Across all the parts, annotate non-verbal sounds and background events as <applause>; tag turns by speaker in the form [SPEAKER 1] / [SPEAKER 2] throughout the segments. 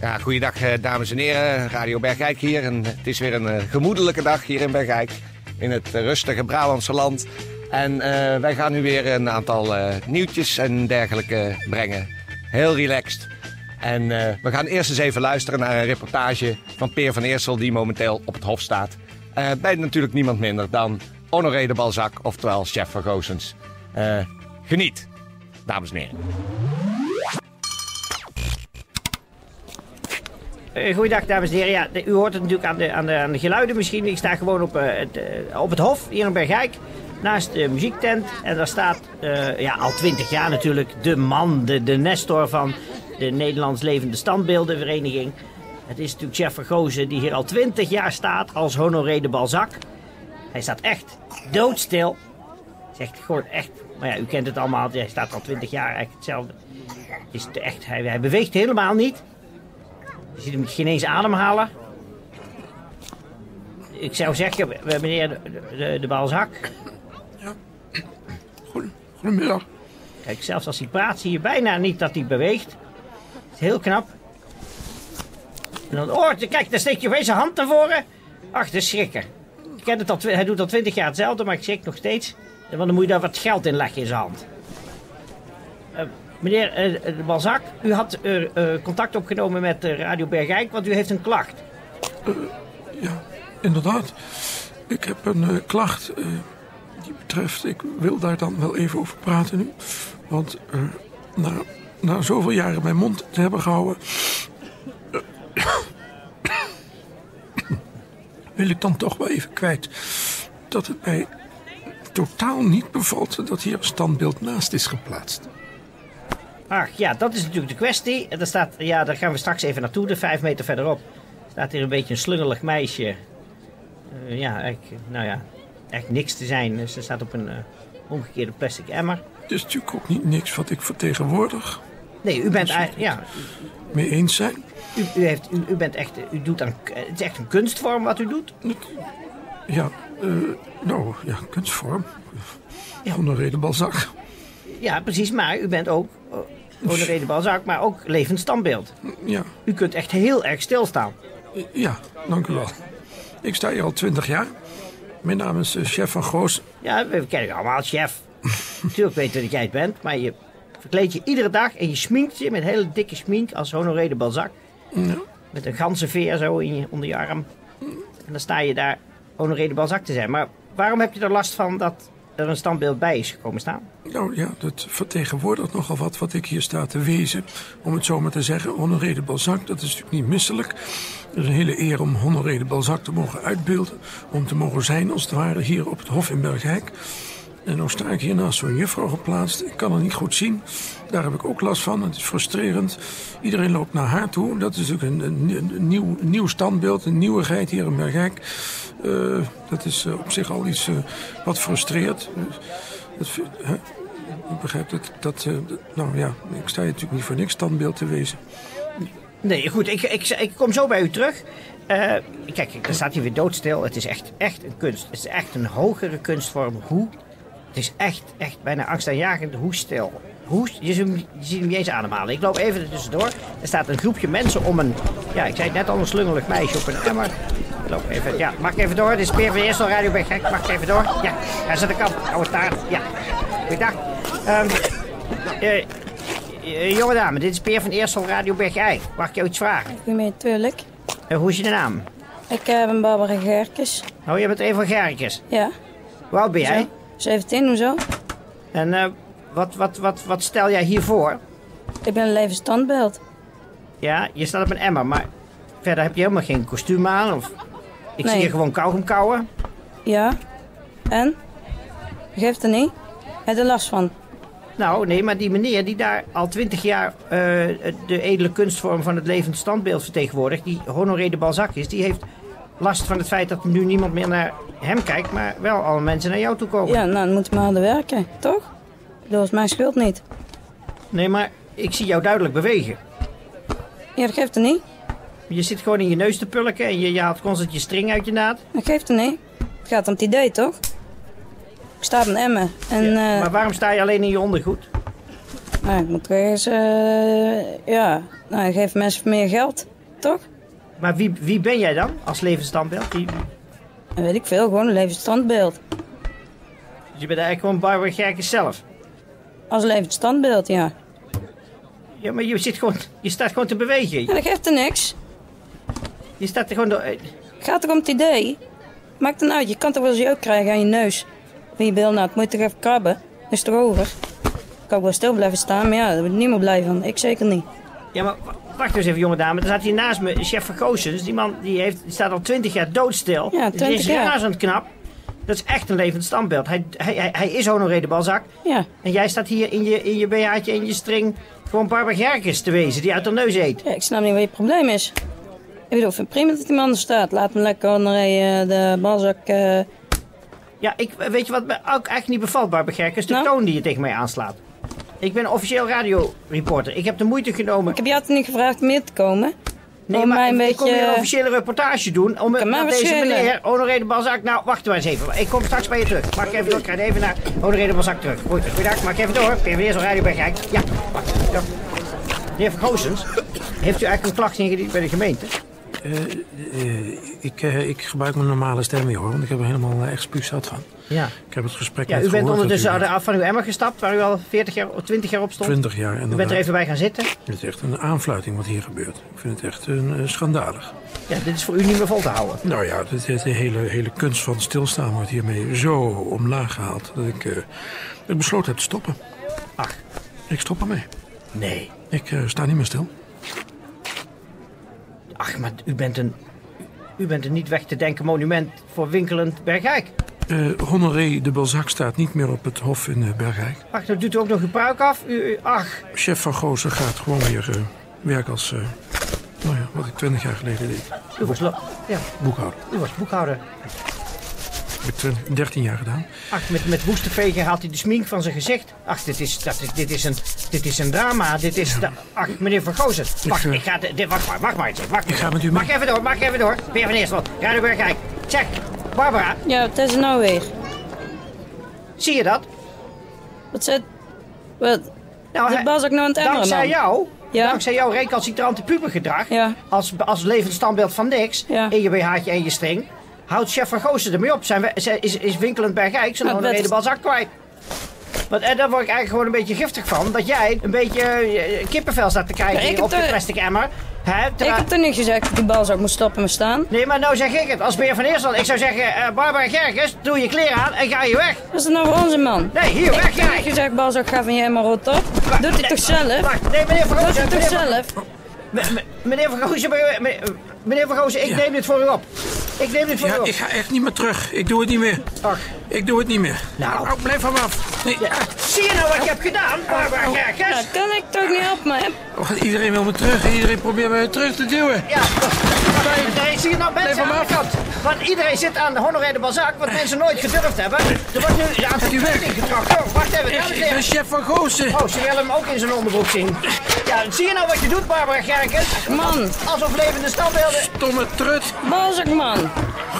[SPEAKER 1] Ja, goeiedag eh, dames en heren. Radio Bergijk hier. En het is weer een eh, gemoedelijke dag hier in Bergijk. In het eh, rustige Brabantse land. En eh, wij gaan nu weer een aantal eh, nieuwtjes en dergelijke brengen. Heel relaxed. En eh, we gaan eerst eens even luisteren naar een reportage van Peer van Eersel... die momenteel op het hof staat. Eh, bij natuurlijk niemand minder dan Honoré de Balzac, oftewel chef van Goosens. Eh, geniet, dames en heren.
[SPEAKER 2] Eh, Goeiedag dames en heren. Ja, de- u hoort het natuurlijk aan de, aan de, aan de geluiden misschien. Ik sta gewoon op, eh, het, eh, op het hof hier in Bergijk. Naast de muziektent. En daar staat eh, ja, al twintig jaar natuurlijk de man, de, de nestor van de Nederlands Levende Standbeeldenvereniging. Het is natuurlijk Jeff Vergozen die hier al twintig jaar staat als Honoré de Balzac. Hij staat echt doodstil. Zegt gewoon echt. Maar ja, u kent het allemaal. Hij staat al twintig jaar eigenlijk hetzelfde. Het is te- echt, hij, hij beweegt helemaal niet. Je ziet hem geen eens ademhalen. Ik zou zeggen, we- we- meneer de, de, de Balzak.
[SPEAKER 3] Goedemiddag.
[SPEAKER 2] Kijk, zelfs als hij praat zie je bijna niet dat hij beweegt. Het is heel knap. En dan, oh, kijk, daar steekt je opeens zijn hand naar voren. Ach, de schrikker. Ik ken het al, twi- hij doet al twintig jaar hetzelfde, maar ik schrik nog steeds. Want dan moet je daar wat geld in leggen in zijn hand. Eh, meneer eh, de Balzak, u had eh, eh, contact opgenomen met eh, Radio Bergijk, want u heeft een klacht.
[SPEAKER 3] Inderdaad, ik heb een eh, klacht eh, die betreft. Ik wil daar dan wel even over praten nu. Want eh, na, na zoveel jaren mijn mond te hebben gehouden. eh, <coughs> wil ik dan toch wel even kwijt dat het mij totaal niet bevalt dat hier een standbeeld naast is geplaatst.
[SPEAKER 2] Ach ja, dat is natuurlijk de kwestie. En daar staat, ja, daar gaan we straks even naartoe, de vijf meter verderop. Staat hier een beetje een slungelig meisje. Eh, ja, eigenlijk, nou ja, echt niks te zijn. Dus Ze staat op een eh, omgekeerde plastic emmer.
[SPEAKER 3] Het is Dus natuurlijk ook niet niks wat ik vertegenwoordig
[SPEAKER 2] Nee, u bent eigenlijk, ja,
[SPEAKER 3] mee eens zijn.
[SPEAKER 2] u, u, heeft, u, u bent echt, eh, u doet aan, eh, het is echt een kunstvorm wat u doet.
[SPEAKER 3] Ja, eh, nou, ja, kunstvorm. Honoré de Balzac.
[SPEAKER 2] Ja, precies, maar u bent ook, eh, Honoré de Balzac, maar ook levend standbeeld.
[SPEAKER 3] Ja,
[SPEAKER 2] U kunt echt heel erg stilstaan.
[SPEAKER 3] ja, dank u wel. Ik sta hier al twintig jaar. Mijn naam is eh, Chef van Goos.
[SPEAKER 2] Ja, we kennen je allemaal, chef. Natuurlijk weten we dat jij het bent, maar je verkleed je iedere dag en je sminkt je met hele dikke smink als Honoré de Balzac. Met een ganzenveer zo in je, onder je arm. En dan sta je daar Honoré de Balzac te zijn. Maar waarom heb je er last van dat er een standbeeld bij is gekomen staan?
[SPEAKER 3] Nou ja, dat vertegenwoordigt nogal wat wat ik hier sta te wezen. Om het zo maar te zeggen, Honoré de Balzac, dat is natuurlijk niet misselijk. Het is een hele eer om Honoré de Balzac te mogen uitbeelden. Om te mogen zijn, als het ware, hier op het Hof in Bergijk. En nou sta ik hier naast zo'n juffrouw geplaatst. Ik kan haar niet goed zien. Daar heb ik ook last van. Het is frustrerend. Iedereen loopt naar haar toe. Dat is natuurlijk een, een- een nieuw, nieuw standbeeld, een nieuwigheid hier in Bergijk. Eh, dat is eh, op zich al iets eh, wat frustreert. Dat, vind- hè? Ik begrijp dat, dat, eh, dat- Nou ja, ik sta hier natuurlijk niet voor niks standbeeld te wezen.
[SPEAKER 2] Nee, goed, ik, ik, ik kom zo bij u terug. Eh, kijk, daar staat hij weer doodstil. Het is echt, echt een kunst. Het is echt een hogere kunstvorm. Hoe? Het is echt, echt bijna angstaanjagend hoe stil. Hoe, je, ziet hem- je ziet hem niet eens ademhalen. Ik loop even er tussendoor. Er staat een groepje mensen om een... Ja, ik zei het net al, een slungelig meisje op een emmer. Ik loop even... Ja, mag ik even door? Dit is Peer van Eersel, Radio Bergijk. Mag ik even door? Ja, hij zit de kant. Oude taart. Ja. Goeiedag. Ehm eh, eh, jonge dame, dit is Peer van Eersel, Radio Bergijk. Mag ik jou iets vragen?
[SPEAKER 4] Natuurlijk.
[SPEAKER 2] Eh, hoe is je de naam?
[SPEAKER 4] Ik eh, ben Barbara Gerkes.
[SPEAKER 2] Oh, je bent een van Gerkes.
[SPEAKER 4] Ja.
[SPEAKER 2] Hoe oud ben jij?
[SPEAKER 4] Zo. 17, hoezo?
[SPEAKER 2] En eh, wat, wat, wat, wat stel jij hiervoor?
[SPEAKER 4] Ik ben een levend standbeeld.
[SPEAKER 2] Ja, je staat op een emmer, maar verder heb je helemaal geen kostuum aan. Of... Ik zie
[SPEAKER 4] Nee.
[SPEAKER 2] je gewoon kauwgom kauwen.
[SPEAKER 4] Ja. En? Geeft er niet? Heb je er last van?
[SPEAKER 2] Nou, nee, maar die meneer die daar al twintig jaar eh, de edele kunstvorm van het levend standbeeld vertegenwoordigt, die Honoré de Balzac is, die heeft last van het feit dat nu niemand meer naar hem kijkt, maar wel alle mensen naar jou toe komen.
[SPEAKER 4] Ja, nou, dan moeten we harder werken, toch? Dat was mijn schuld niet.
[SPEAKER 2] Nee, maar ik zie jou duidelijk bewegen.
[SPEAKER 4] Ja, dat geeft er niet.
[SPEAKER 2] Je zit gewoon in je neus te pulken en je, je haalt constant je string uit je naad.
[SPEAKER 4] Dat geeft er niet. Het gaat om het idee, toch? Ik sta op een emmer. En,
[SPEAKER 2] Ja,
[SPEAKER 4] eh,
[SPEAKER 2] maar waarom sta je alleen in je ondergoed?
[SPEAKER 4] nou, ik moet ergens... eh, ja, nou, geef mensen meer geld, toch?
[SPEAKER 2] Maar wie, wie ben jij dan als levend standbeeld? Wie-
[SPEAKER 4] Dat weet ik veel, gewoon een levend standbeeld.
[SPEAKER 2] je bent eigenlijk gewoon Barbara Gerkes zelf.
[SPEAKER 4] Als levend standbeeld, ja.
[SPEAKER 2] Ja, maar je, zit gewoon, je staat gewoon te bewegen.
[SPEAKER 4] Ja, dat geeft er niks.
[SPEAKER 2] Je staat er gewoon door... eh,
[SPEAKER 4] Het gaat er om het idee. Maakt dan uit, je kan toch wel eens jeuk krijgen aan je neus. Van je bilnaad, moet je toch even krabben? Dat is toch over? Ik kan ook wel stil blijven staan, maar ja, daar wordt niemand blij van. Ik zeker niet.
[SPEAKER 2] Ja, maar w- wacht eens even, jonge dame. Er staat hier naast me chef Vergoosens. Die man die heeft, die staat al twintig jaar doodstil.
[SPEAKER 4] Ja,
[SPEAKER 2] Die
[SPEAKER 4] 20
[SPEAKER 2] is
[SPEAKER 4] jaar.
[SPEAKER 2] razend knap. Dat is echt een levend standbeeld. Hij, hij, hij, hij is Honoré de Balzac.
[SPEAKER 4] Ja,
[SPEAKER 2] En jij staat hier in je, in je BH'tje en je string... gewoon Barbara Gerkes te wezen, die uit haar neus eet.
[SPEAKER 4] ja ik snap niet wat je probleem is. Ik bedoel, vind prima dat die man er staat. Laat hem lekker onder eh, de balzak. eh,
[SPEAKER 2] Ja, ik, weet je wat me ook eigenlijk niet bevalt, Barbara Gerkes? De
[SPEAKER 4] Nou?
[SPEAKER 2] toon die je tegen mij aanslaat. Ik ben officieel radioreporter. Ik heb de moeite genomen...
[SPEAKER 4] Ik heb jou toch niet gevraagd om hier te komen? om mij een
[SPEAKER 2] ik kom hier een
[SPEAKER 4] beetje...
[SPEAKER 2] officiële reportage doen om
[SPEAKER 4] Kan mij
[SPEAKER 2] naar
[SPEAKER 4] wat
[SPEAKER 2] deze
[SPEAKER 4] schelen.
[SPEAKER 2] meneer, Honoré de Balzac... Nou, wacht maar eens even. Ik kom straks bij je terug. Maak even door. Ik ga even naar Honoré de Balzac terug. Goed, goeiedag. Maak even door. PvdA is al radio bij Rijk. Ja, wacht. Ja. Meneer Vergoosens, heeft u eigenlijk een klacht ingediend bij de gemeente?
[SPEAKER 3] Ik, eh, ik gebruik mijn normale stem weer hoor, want ik heb er helemaal eh, echt spuugzat van.
[SPEAKER 2] Ja.
[SPEAKER 3] Ik heb het gesprek
[SPEAKER 2] Ja,
[SPEAKER 3] net
[SPEAKER 2] u bent
[SPEAKER 3] gehoord
[SPEAKER 2] ondertussen
[SPEAKER 3] natuurlijk.
[SPEAKER 2] af van uw emmer gestapt, waar u al 40 jaar, 20 jaar op stond.
[SPEAKER 3] 20 jaar
[SPEAKER 2] U bent
[SPEAKER 3] inderdaad.
[SPEAKER 2] er even bij gaan zitten.
[SPEAKER 3] Het is echt een aanfluiting wat hier gebeurt. Ik vind het echt een, eh, schandalig.
[SPEAKER 2] Ja, dit is voor u niet meer vol te houden.
[SPEAKER 3] Nou ja, de, de- de hele, hele kunst van stilstaan wordt hiermee zo omlaag gehaald... dat ik, eh, ik besloten heb te stoppen.
[SPEAKER 2] Ach,
[SPEAKER 3] Ik stop ermee.
[SPEAKER 2] nee.
[SPEAKER 3] Ik eh, sta niet meer stil.
[SPEAKER 2] Ach, maar u bent een... U bent een niet weg te denken monument voor winkelend Bergijk.
[SPEAKER 3] Eh, Honoré de Balzac staat niet meer op het hof in eh, Bergrijk.
[SPEAKER 2] Ach, dan doet u ook nog uw pruik af. U, u- ach,
[SPEAKER 3] Chef van Goosen gaat gewoon weer eh, werken als... eh, nou ja, wat ik twintig jaar geleden deed.
[SPEAKER 2] u was, lo- ja,
[SPEAKER 3] Boekhouder.
[SPEAKER 2] u was boekhouder.
[SPEAKER 3] Heb ik 20, 13 jaar gedaan.
[SPEAKER 2] Ach, met, met woestenvegen haalt hij de smink van zijn gezicht. Ach, dit is, dat is, dit is, een, dit is een drama. Dit is... da- ach, meneer Van Gozen. Wacht,
[SPEAKER 3] eh,
[SPEAKER 2] ik ga... de- Dit, wacht maar, wacht maar. eens even, Wacht,
[SPEAKER 3] ga met u mee.
[SPEAKER 2] Mag even door, mag even door. Weer van Eerstel, Radio Bergijk. Check. Barbara,
[SPEAKER 4] Ja, wat is er nou weer?
[SPEAKER 2] zie je dat?
[SPEAKER 4] Wat zit... Wat?
[SPEAKER 2] Nou,
[SPEAKER 4] Zit
[SPEAKER 2] hij-
[SPEAKER 4] Bas ook nou aan het emmeren,
[SPEAKER 2] Dankzij
[SPEAKER 4] man?
[SPEAKER 2] jou,
[SPEAKER 4] Ja.
[SPEAKER 2] dankzij jouw recalcitrante pubergedrag,
[SPEAKER 4] Ja.
[SPEAKER 2] als, als levend standbeeld van niks,
[SPEAKER 4] Ja.
[SPEAKER 2] in je BH'tje en je string, houdt chef van Goossen ermee op. Zijn we, zijn- is, is winkelend Bergijk zijn
[SPEAKER 4] Maar
[SPEAKER 2] honoré
[SPEAKER 4] Nou, dat-
[SPEAKER 2] de balzak kwijt. Want eh, daar word ik eigenlijk gewoon een beetje giftig van, dat jij een beetje eh, kippenvel staat te
[SPEAKER 4] Ja,
[SPEAKER 2] krijgen
[SPEAKER 4] ik
[SPEAKER 2] hier
[SPEAKER 4] heb
[SPEAKER 2] op de
[SPEAKER 4] er-
[SPEAKER 2] plastic emmer. Hè,
[SPEAKER 4] Ik
[SPEAKER 2] terwijl-
[SPEAKER 4] heb toch niet gezegd dat die balzak moet stoppen met staan?
[SPEAKER 2] Nee, maar nou zeg ik het. Als Beer van Eersel, ik zou zeggen, eh, Barbara Gerkes, doe je kleren aan en ga je weg.
[SPEAKER 4] Wat is er nou voor onze man?
[SPEAKER 2] Nee, hier,
[SPEAKER 4] Ik
[SPEAKER 2] weg
[SPEAKER 4] heb
[SPEAKER 2] jij.
[SPEAKER 4] niet gezegd, balzak, ga van je helemaal rot op. Doet hij
[SPEAKER 2] Nee,
[SPEAKER 4] toch zelf?
[SPEAKER 2] Wacht, nee, meneer van
[SPEAKER 4] Doet
[SPEAKER 2] Goossen,
[SPEAKER 4] hij toch
[SPEAKER 2] meneer Van-
[SPEAKER 4] zelf?
[SPEAKER 2] M- m- Meneer Van Goosen, meneer- meneer- meneer Van Goosen, ik neem dit voor u op. Ik neem dit voor u
[SPEAKER 3] Ja,
[SPEAKER 2] op.
[SPEAKER 3] ik ga echt niet meer terug. Ik doe het niet meer.
[SPEAKER 2] Oh. Ach.
[SPEAKER 3] Ik doe het niet meer.
[SPEAKER 2] Nou.
[SPEAKER 3] Au, blijf van me af. Nee, ah,
[SPEAKER 2] Zie je nou wat ik heb gedaan, Barbara
[SPEAKER 4] Ja,
[SPEAKER 2] Gerkes?
[SPEAKER 4] kan ik toch niet helpen, hè?
[SPEAKER 3] oh, iedereen wil me terug. Iedereen probeert me terug te duwen.
[SPEAKER 2] Ja, nee, zie je nou
[SPEAKER 3] Blijf
[SPEAKER 2] mensen
[SPEAKER 3] hem
[SPEAKER 2] aan de kant. Want iedereen zit aan de honoré de Balzac, wat mensen nooit gedurfd hebben. Er wordt nu ja, het
[SPEAKER 3] u weg.
[SPEAKER 2] ingetrokken. Oh, wacht even,
[SPEAKER 3] Ik,
[SPEAKER 2] dames en
[SPEAKER 3] ik ben
[SPEAKER 2] heren.
[SPEAKER 3] chef van Goosen.
[SPEAKER 2] Oh, ze willen hem ook in zijn onderbroek zien. Ja, zie je nou wat je doet, Barbara Gerkes?
[SPEAKER 4] Man.
[SPEAKER 2] Alsof levende standbeelden...
[SPEAKER 3] Stomme trut.
[SPEAKER 4] Balzak, man.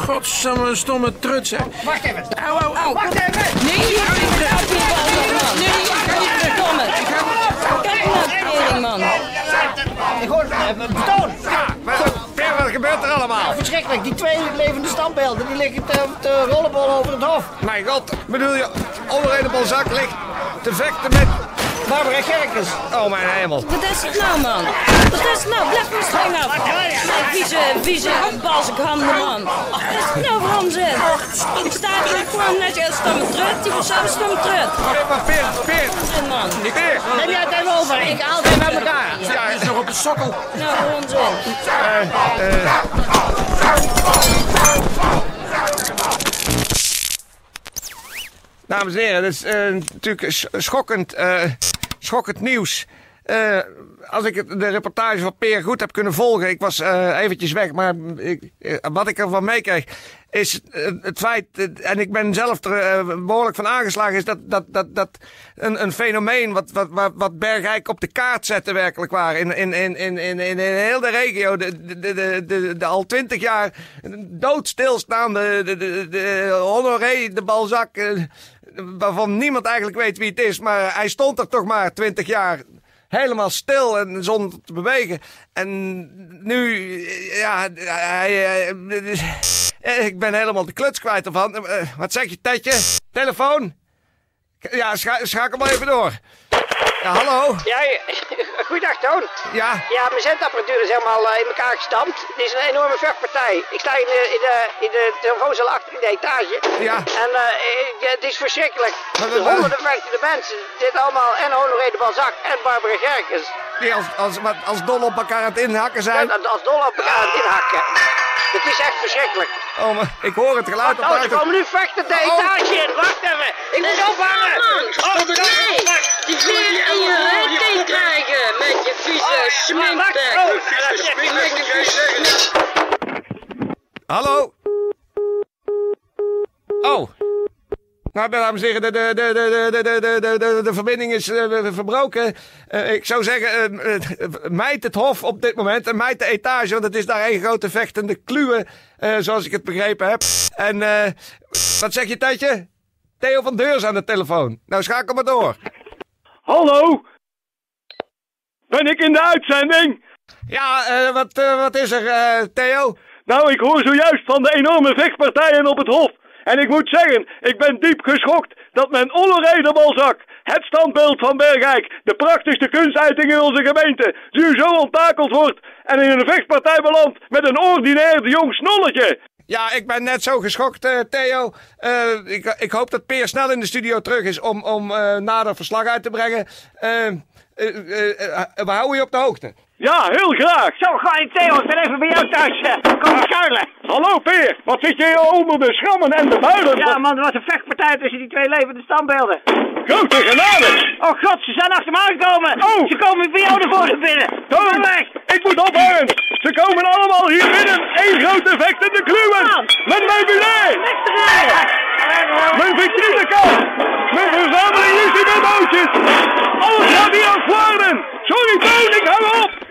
[SPEAKER 3] Godsamme stomme trut. zeg.
[SPEAKER 2] Wacht even.
[SPEAKER 3] Au, au, au.
[SPEAKER 2] Wacht even.
[SPEAKER 4] Nee, je moet niet meer helpen, die balzak, man. Nee, je kan niet meer komen. Kijk nou, tering, man.
[SPEAKER 2] Gewoon, eh, betoon. Ja,
[SPEAKER 1] Ver, Ah, wat gebeurt er allemaal?
[SPEAKER 2] Verschrikkelijk, die twee levende standbeelden die liggen te, te rollenbollen over het hof.
[SPEAKER 1] Mijn god, bedoel je, onder een balzak ligt te vechten met...
[SPEAKER 2] Barbara Gerkens.
[SPEAKER 1] Oh mijn hemel.
[SPEAKER 4] Wat is het nou, man? Wat is het nou? Blijf me streng af. Nee, vieze, vieze handbalzekhamde man. Wat is het nou voor onzin? Ik sta hier gewoon net als stomme trut. Die was zelf stomme trut.
[SPEAKER 1] Peer, maar Peer, Peer,
[SPEAKER 4] Onzin, man.
[SPEAKER 1] Peer.
[SPEAKER 2] Neem jij het even over? Ik haal het even uit elkaar.
[SPEAKER 1] Ja, is nog op de sokkel.
[SPEAKER 4] Nou, voor onzin.
[SPEAKER 1] Dames en heren, dat is eh, natuurlijk sch- schokkend, eh, schokkend nieuws. Eh, als ik het- de reportage van Peer goed heb kunnen volgen, ik was eh, eventjes weg, maar ik, eh, wat ik ervan meekreeg is eh, het feit, eh, en ik ben zelf er eh, behoorlijk van aangeslagen, is dat, dat, dat, dat een, een fenomeen wat, wat, wat, wat Bergijk op de kaart zette werkelijk waar. In, in, in, in, in, in heel de regio, de, de, de, de, de, de al twintig jaar doodstilstaande, de, de, de Honoré, de Balzac, eh, waarvan niemand eigenlijk weet wie het is, maar hij stond er toch maar twintig jaar. Helemaal stil en zonder te bewegen. En nu, eh, ja, hij, hij- eh, ik ben helemaal de kluts kwijt ervan. Eh, eh, Wat zeg je, Tetje? Telefoon? Ja, scha schakel maar even door. Ja, hallo?
[SPEAKER 5] Ja, ja. <laughs> goeiedag Toon.
[SPEAKER 1] Ja,
[SPEAKER 5] Ja, mijn zendapparatuur is helemaal eh, in elkaar gestampt. Het is een enorme vechtpartij. Ik sta in de, in de, in de telefoonzaal achter in de etage.
[SPEAKER 1] Ja.
[SPEAKER 5] En eh, eh, ja, het is verschrikkelijk.
[SPEAKER 1] Maar we- we-
[SPEAKER 5] Honderden vechtende mensen. Dit allemaal en Honoré de Balzac en Barbara Gerkens.
[SPEAKER 1] die als, als, wat- als dol op elkaar aan het inhakken zijn.
[SPEAKER 5] En als dol op elkaar aan het inhakken. Het is echt verschrikkelijk.
[SPEAKER 1] Oh, maar ik hoor het geluid op
[SPEAKER 5] Oh, ze
[SPEAKER 1] buiten.
[SPEAKER 5] komen nu vechten de
[SPEAKER 1] Oh.
[SPEAKER 5] etage in. Wacht even. Ik moet ophangen.
[SPEAKER 6] Stop mij! Die wil je in je
[SPEAKER 5] Oh,
[SPEAKER 6] reet heen krijgen met je vieze sminkbek. Met je vieze sminkbek.
[SPEAKER 1] Hallo? Oh. Nou, dames en heren, de, de, de, de, de, de, de, de, de, de verbinding is eh, verbroken. Eh, ik zou zeggen, eh, eh, mijt het hof op dit moment en mijt de etage, want het is daar een grote vechtende kluwe, eh, zoals ik het begrepen heb. En eh, wat zeg je, Tijdje? Theo van Deur is aan de telefoon. Nou, schakel maar door.
[SPEAKER 7] Hallo? Ben ik in de uitzending?
[SPEAKER 1] Ja, eh, wat, eh, wat is er, eh, Theo?
[SPEAKER 7] Nou, ik hoor zojuist van de enorme vechtpartijen op het Hof. En ik moet zeggen, ik ben diep geschokt dat men Olleré de Balzak, het standbeeld van Bergijk, de prachtigste kunstuiting in onze gemeente, nu zo onttakeld wordt en in een vechtpartij belandt met een ordinair jong snolletje.
[SPEAKER 1] Ja, ik ben net zo geschokt, eh, Theo. Eh, ik, ik hoop dat Peer snel in de studio terug is om, om eh, nader verslag uit te brengen. Eh, eh, eh, eh, we houden je op de hoogte.
[SPEAKER 7] Ja, heel graag.
[SPEAKER 5] Zo, ga ik Theo. Ik ben even bij jou thuis. eh. Kom schuilen.
[SPEAKER 7] Hallo Peer, wat zit je hier onder de schrammen en de muilen?
[SPEAKER 5] Ja, man, er was een vechtpartij tussen die twee levende standbeelden.
[SPEAKER 7] Grote genade!
[SPEAKER 5] Oh god, ze zijn achter me aangekomen!
[SPEAKER 7] Oh.
[SPEAKER 5] Ze komen bij jou naar voren binnen!
[SPEAKER 7] Toon, ik moet ophangen. Ze komen allemaal hier binnen. Eén grote vechtende kluwen. Met mijn bilet. Mijn vitrinekast. Mijn verzameling is in mijn bootjes. Alles gaat hier aan Vlaarden. Sorry, Toon, ik hang op.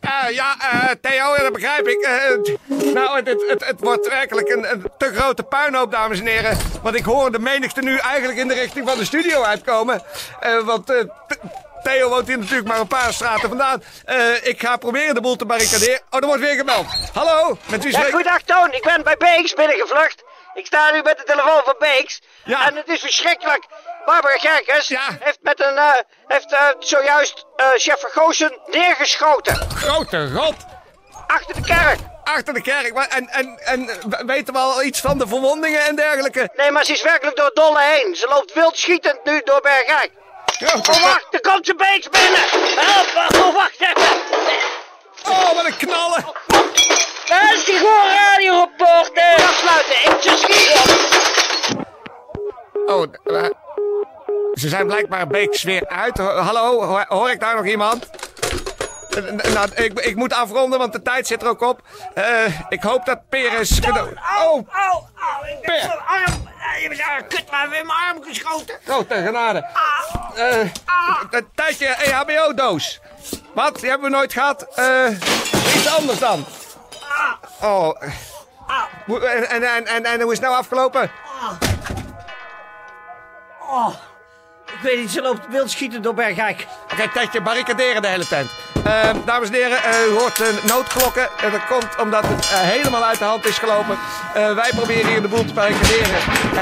[SPEAKER 1] Eh, ja, eh, Theo, ja, dat begrijp ik. Eh, het- nou, het, het, het, het wordt werkelijk een, een te grote puinhoop, dames en heren. Want ik hoor de menigte nu eigenlijk in de richting van de studio uitkomen. Eh, want eh, Th- Theo woont hier natuurlijk maar een paar straten vandaan. Eh, ik ga proberen de boel te barricaderen. Oh, er wordt weer gebeld. Hallo, met wie
[SPEAKER 5] Ja,
[SPEAKER 1] spreek ik?
[SPEAKER 5] goeiedag Toon, ik ben bij Beeks binnengevlucht. Ik sta nu met de telefoon van Beeks.
[SPEAKER 1] Ja.
[SPEAKER 5] En het is verschrikkelijk. Barbara Gerkes
[SPEAKER 1] Ja.
[SPEAKER 5] heeft, met een, eh, heeft eh, zojuist eh chef Vergozen neergeschoten.
[SPEAKER 1] Grote god!
[SPEAKER 5] Achter de kerk.
[SPEAKER 1] Achter de kerk. Maar En, en, en w- weten we al iets van de verwondingen en dergelijke?
[SPEAKER 5] Nee, maar ze is werkelijk door het dolle heen. Ze loopt wild schietend nu door Bergijk.
[SPEAKER 1] Grote
[SPEAKER 5] Oh
[SPEAKER 1] god.
[SPEAKER 5] wacht, er komt ze Beeks binnen! Help, oh wacht even!
[SPEAKER 1] Oh, wat een knallen!
[SPEAKER 5] Daar is die gewoon radioreporter! Afsluiten, ik ze schieten!
[SPEAKER 1] Oh, eh, ze zijn blijkbaar Beeks weer uit. Ho- Hallo, ho- hoor ik daar nog iemand? Eh, n- Nou, ik, ik moet afronden, want de tijd zit er ook op. Eh, ik hoop dat Peer is... Oh,
[SPEAKER 5] Au, au, ik
[SPEAKER 1] Per.
[SPEAKER 5] heb mijn arm. eh, Je bent ah, kut, maar weer in mijn arm geschoten. Ah.
[SPEAKER 1] grote Oh, genade. Eh, een tijdje E EHBO-doos. Wat? Die hebben we nooit gehad. Eh, iets anders dan.
[SPEAKER 5] Ah.
[SPEAKER 1] Oh. Hoe- En, en, en, en, en hoe is het nou afgelopen?
[SPEAKER 2] Ik weet niet, ze loopt wild schieten door Bergijk.
[SPEAKER 1] Oké, Tetje, barricaderen de hele tent. Eh, dames en heren, eh, u hoort eh, noodklokken. En dat komt omdat het eh, helemaal uit de hand is gelopen. Eh, wij proberen hier de boel te barricaderen.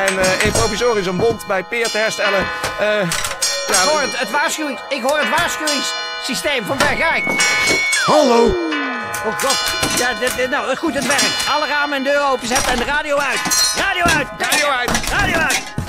[SPEAKER 1] En eh, in provisorisch een bond bij Peer te herstellen. Eh, ja,
[SPEAKER 2] Ik hoor het, het waarschuwings... Ik hoor het waarschuwingssysteem van Bergijk.
[SPEAKER 8] Hallo!
[SPEAKER 2] Oh god. Ja, dit, dit- nou, goed, het werkt. Alle ramen en deuren openzetten en de radio uit. Radio uit!
[SPEAKER 1] Radio uit.
[SPEAKER 2] Radio uit!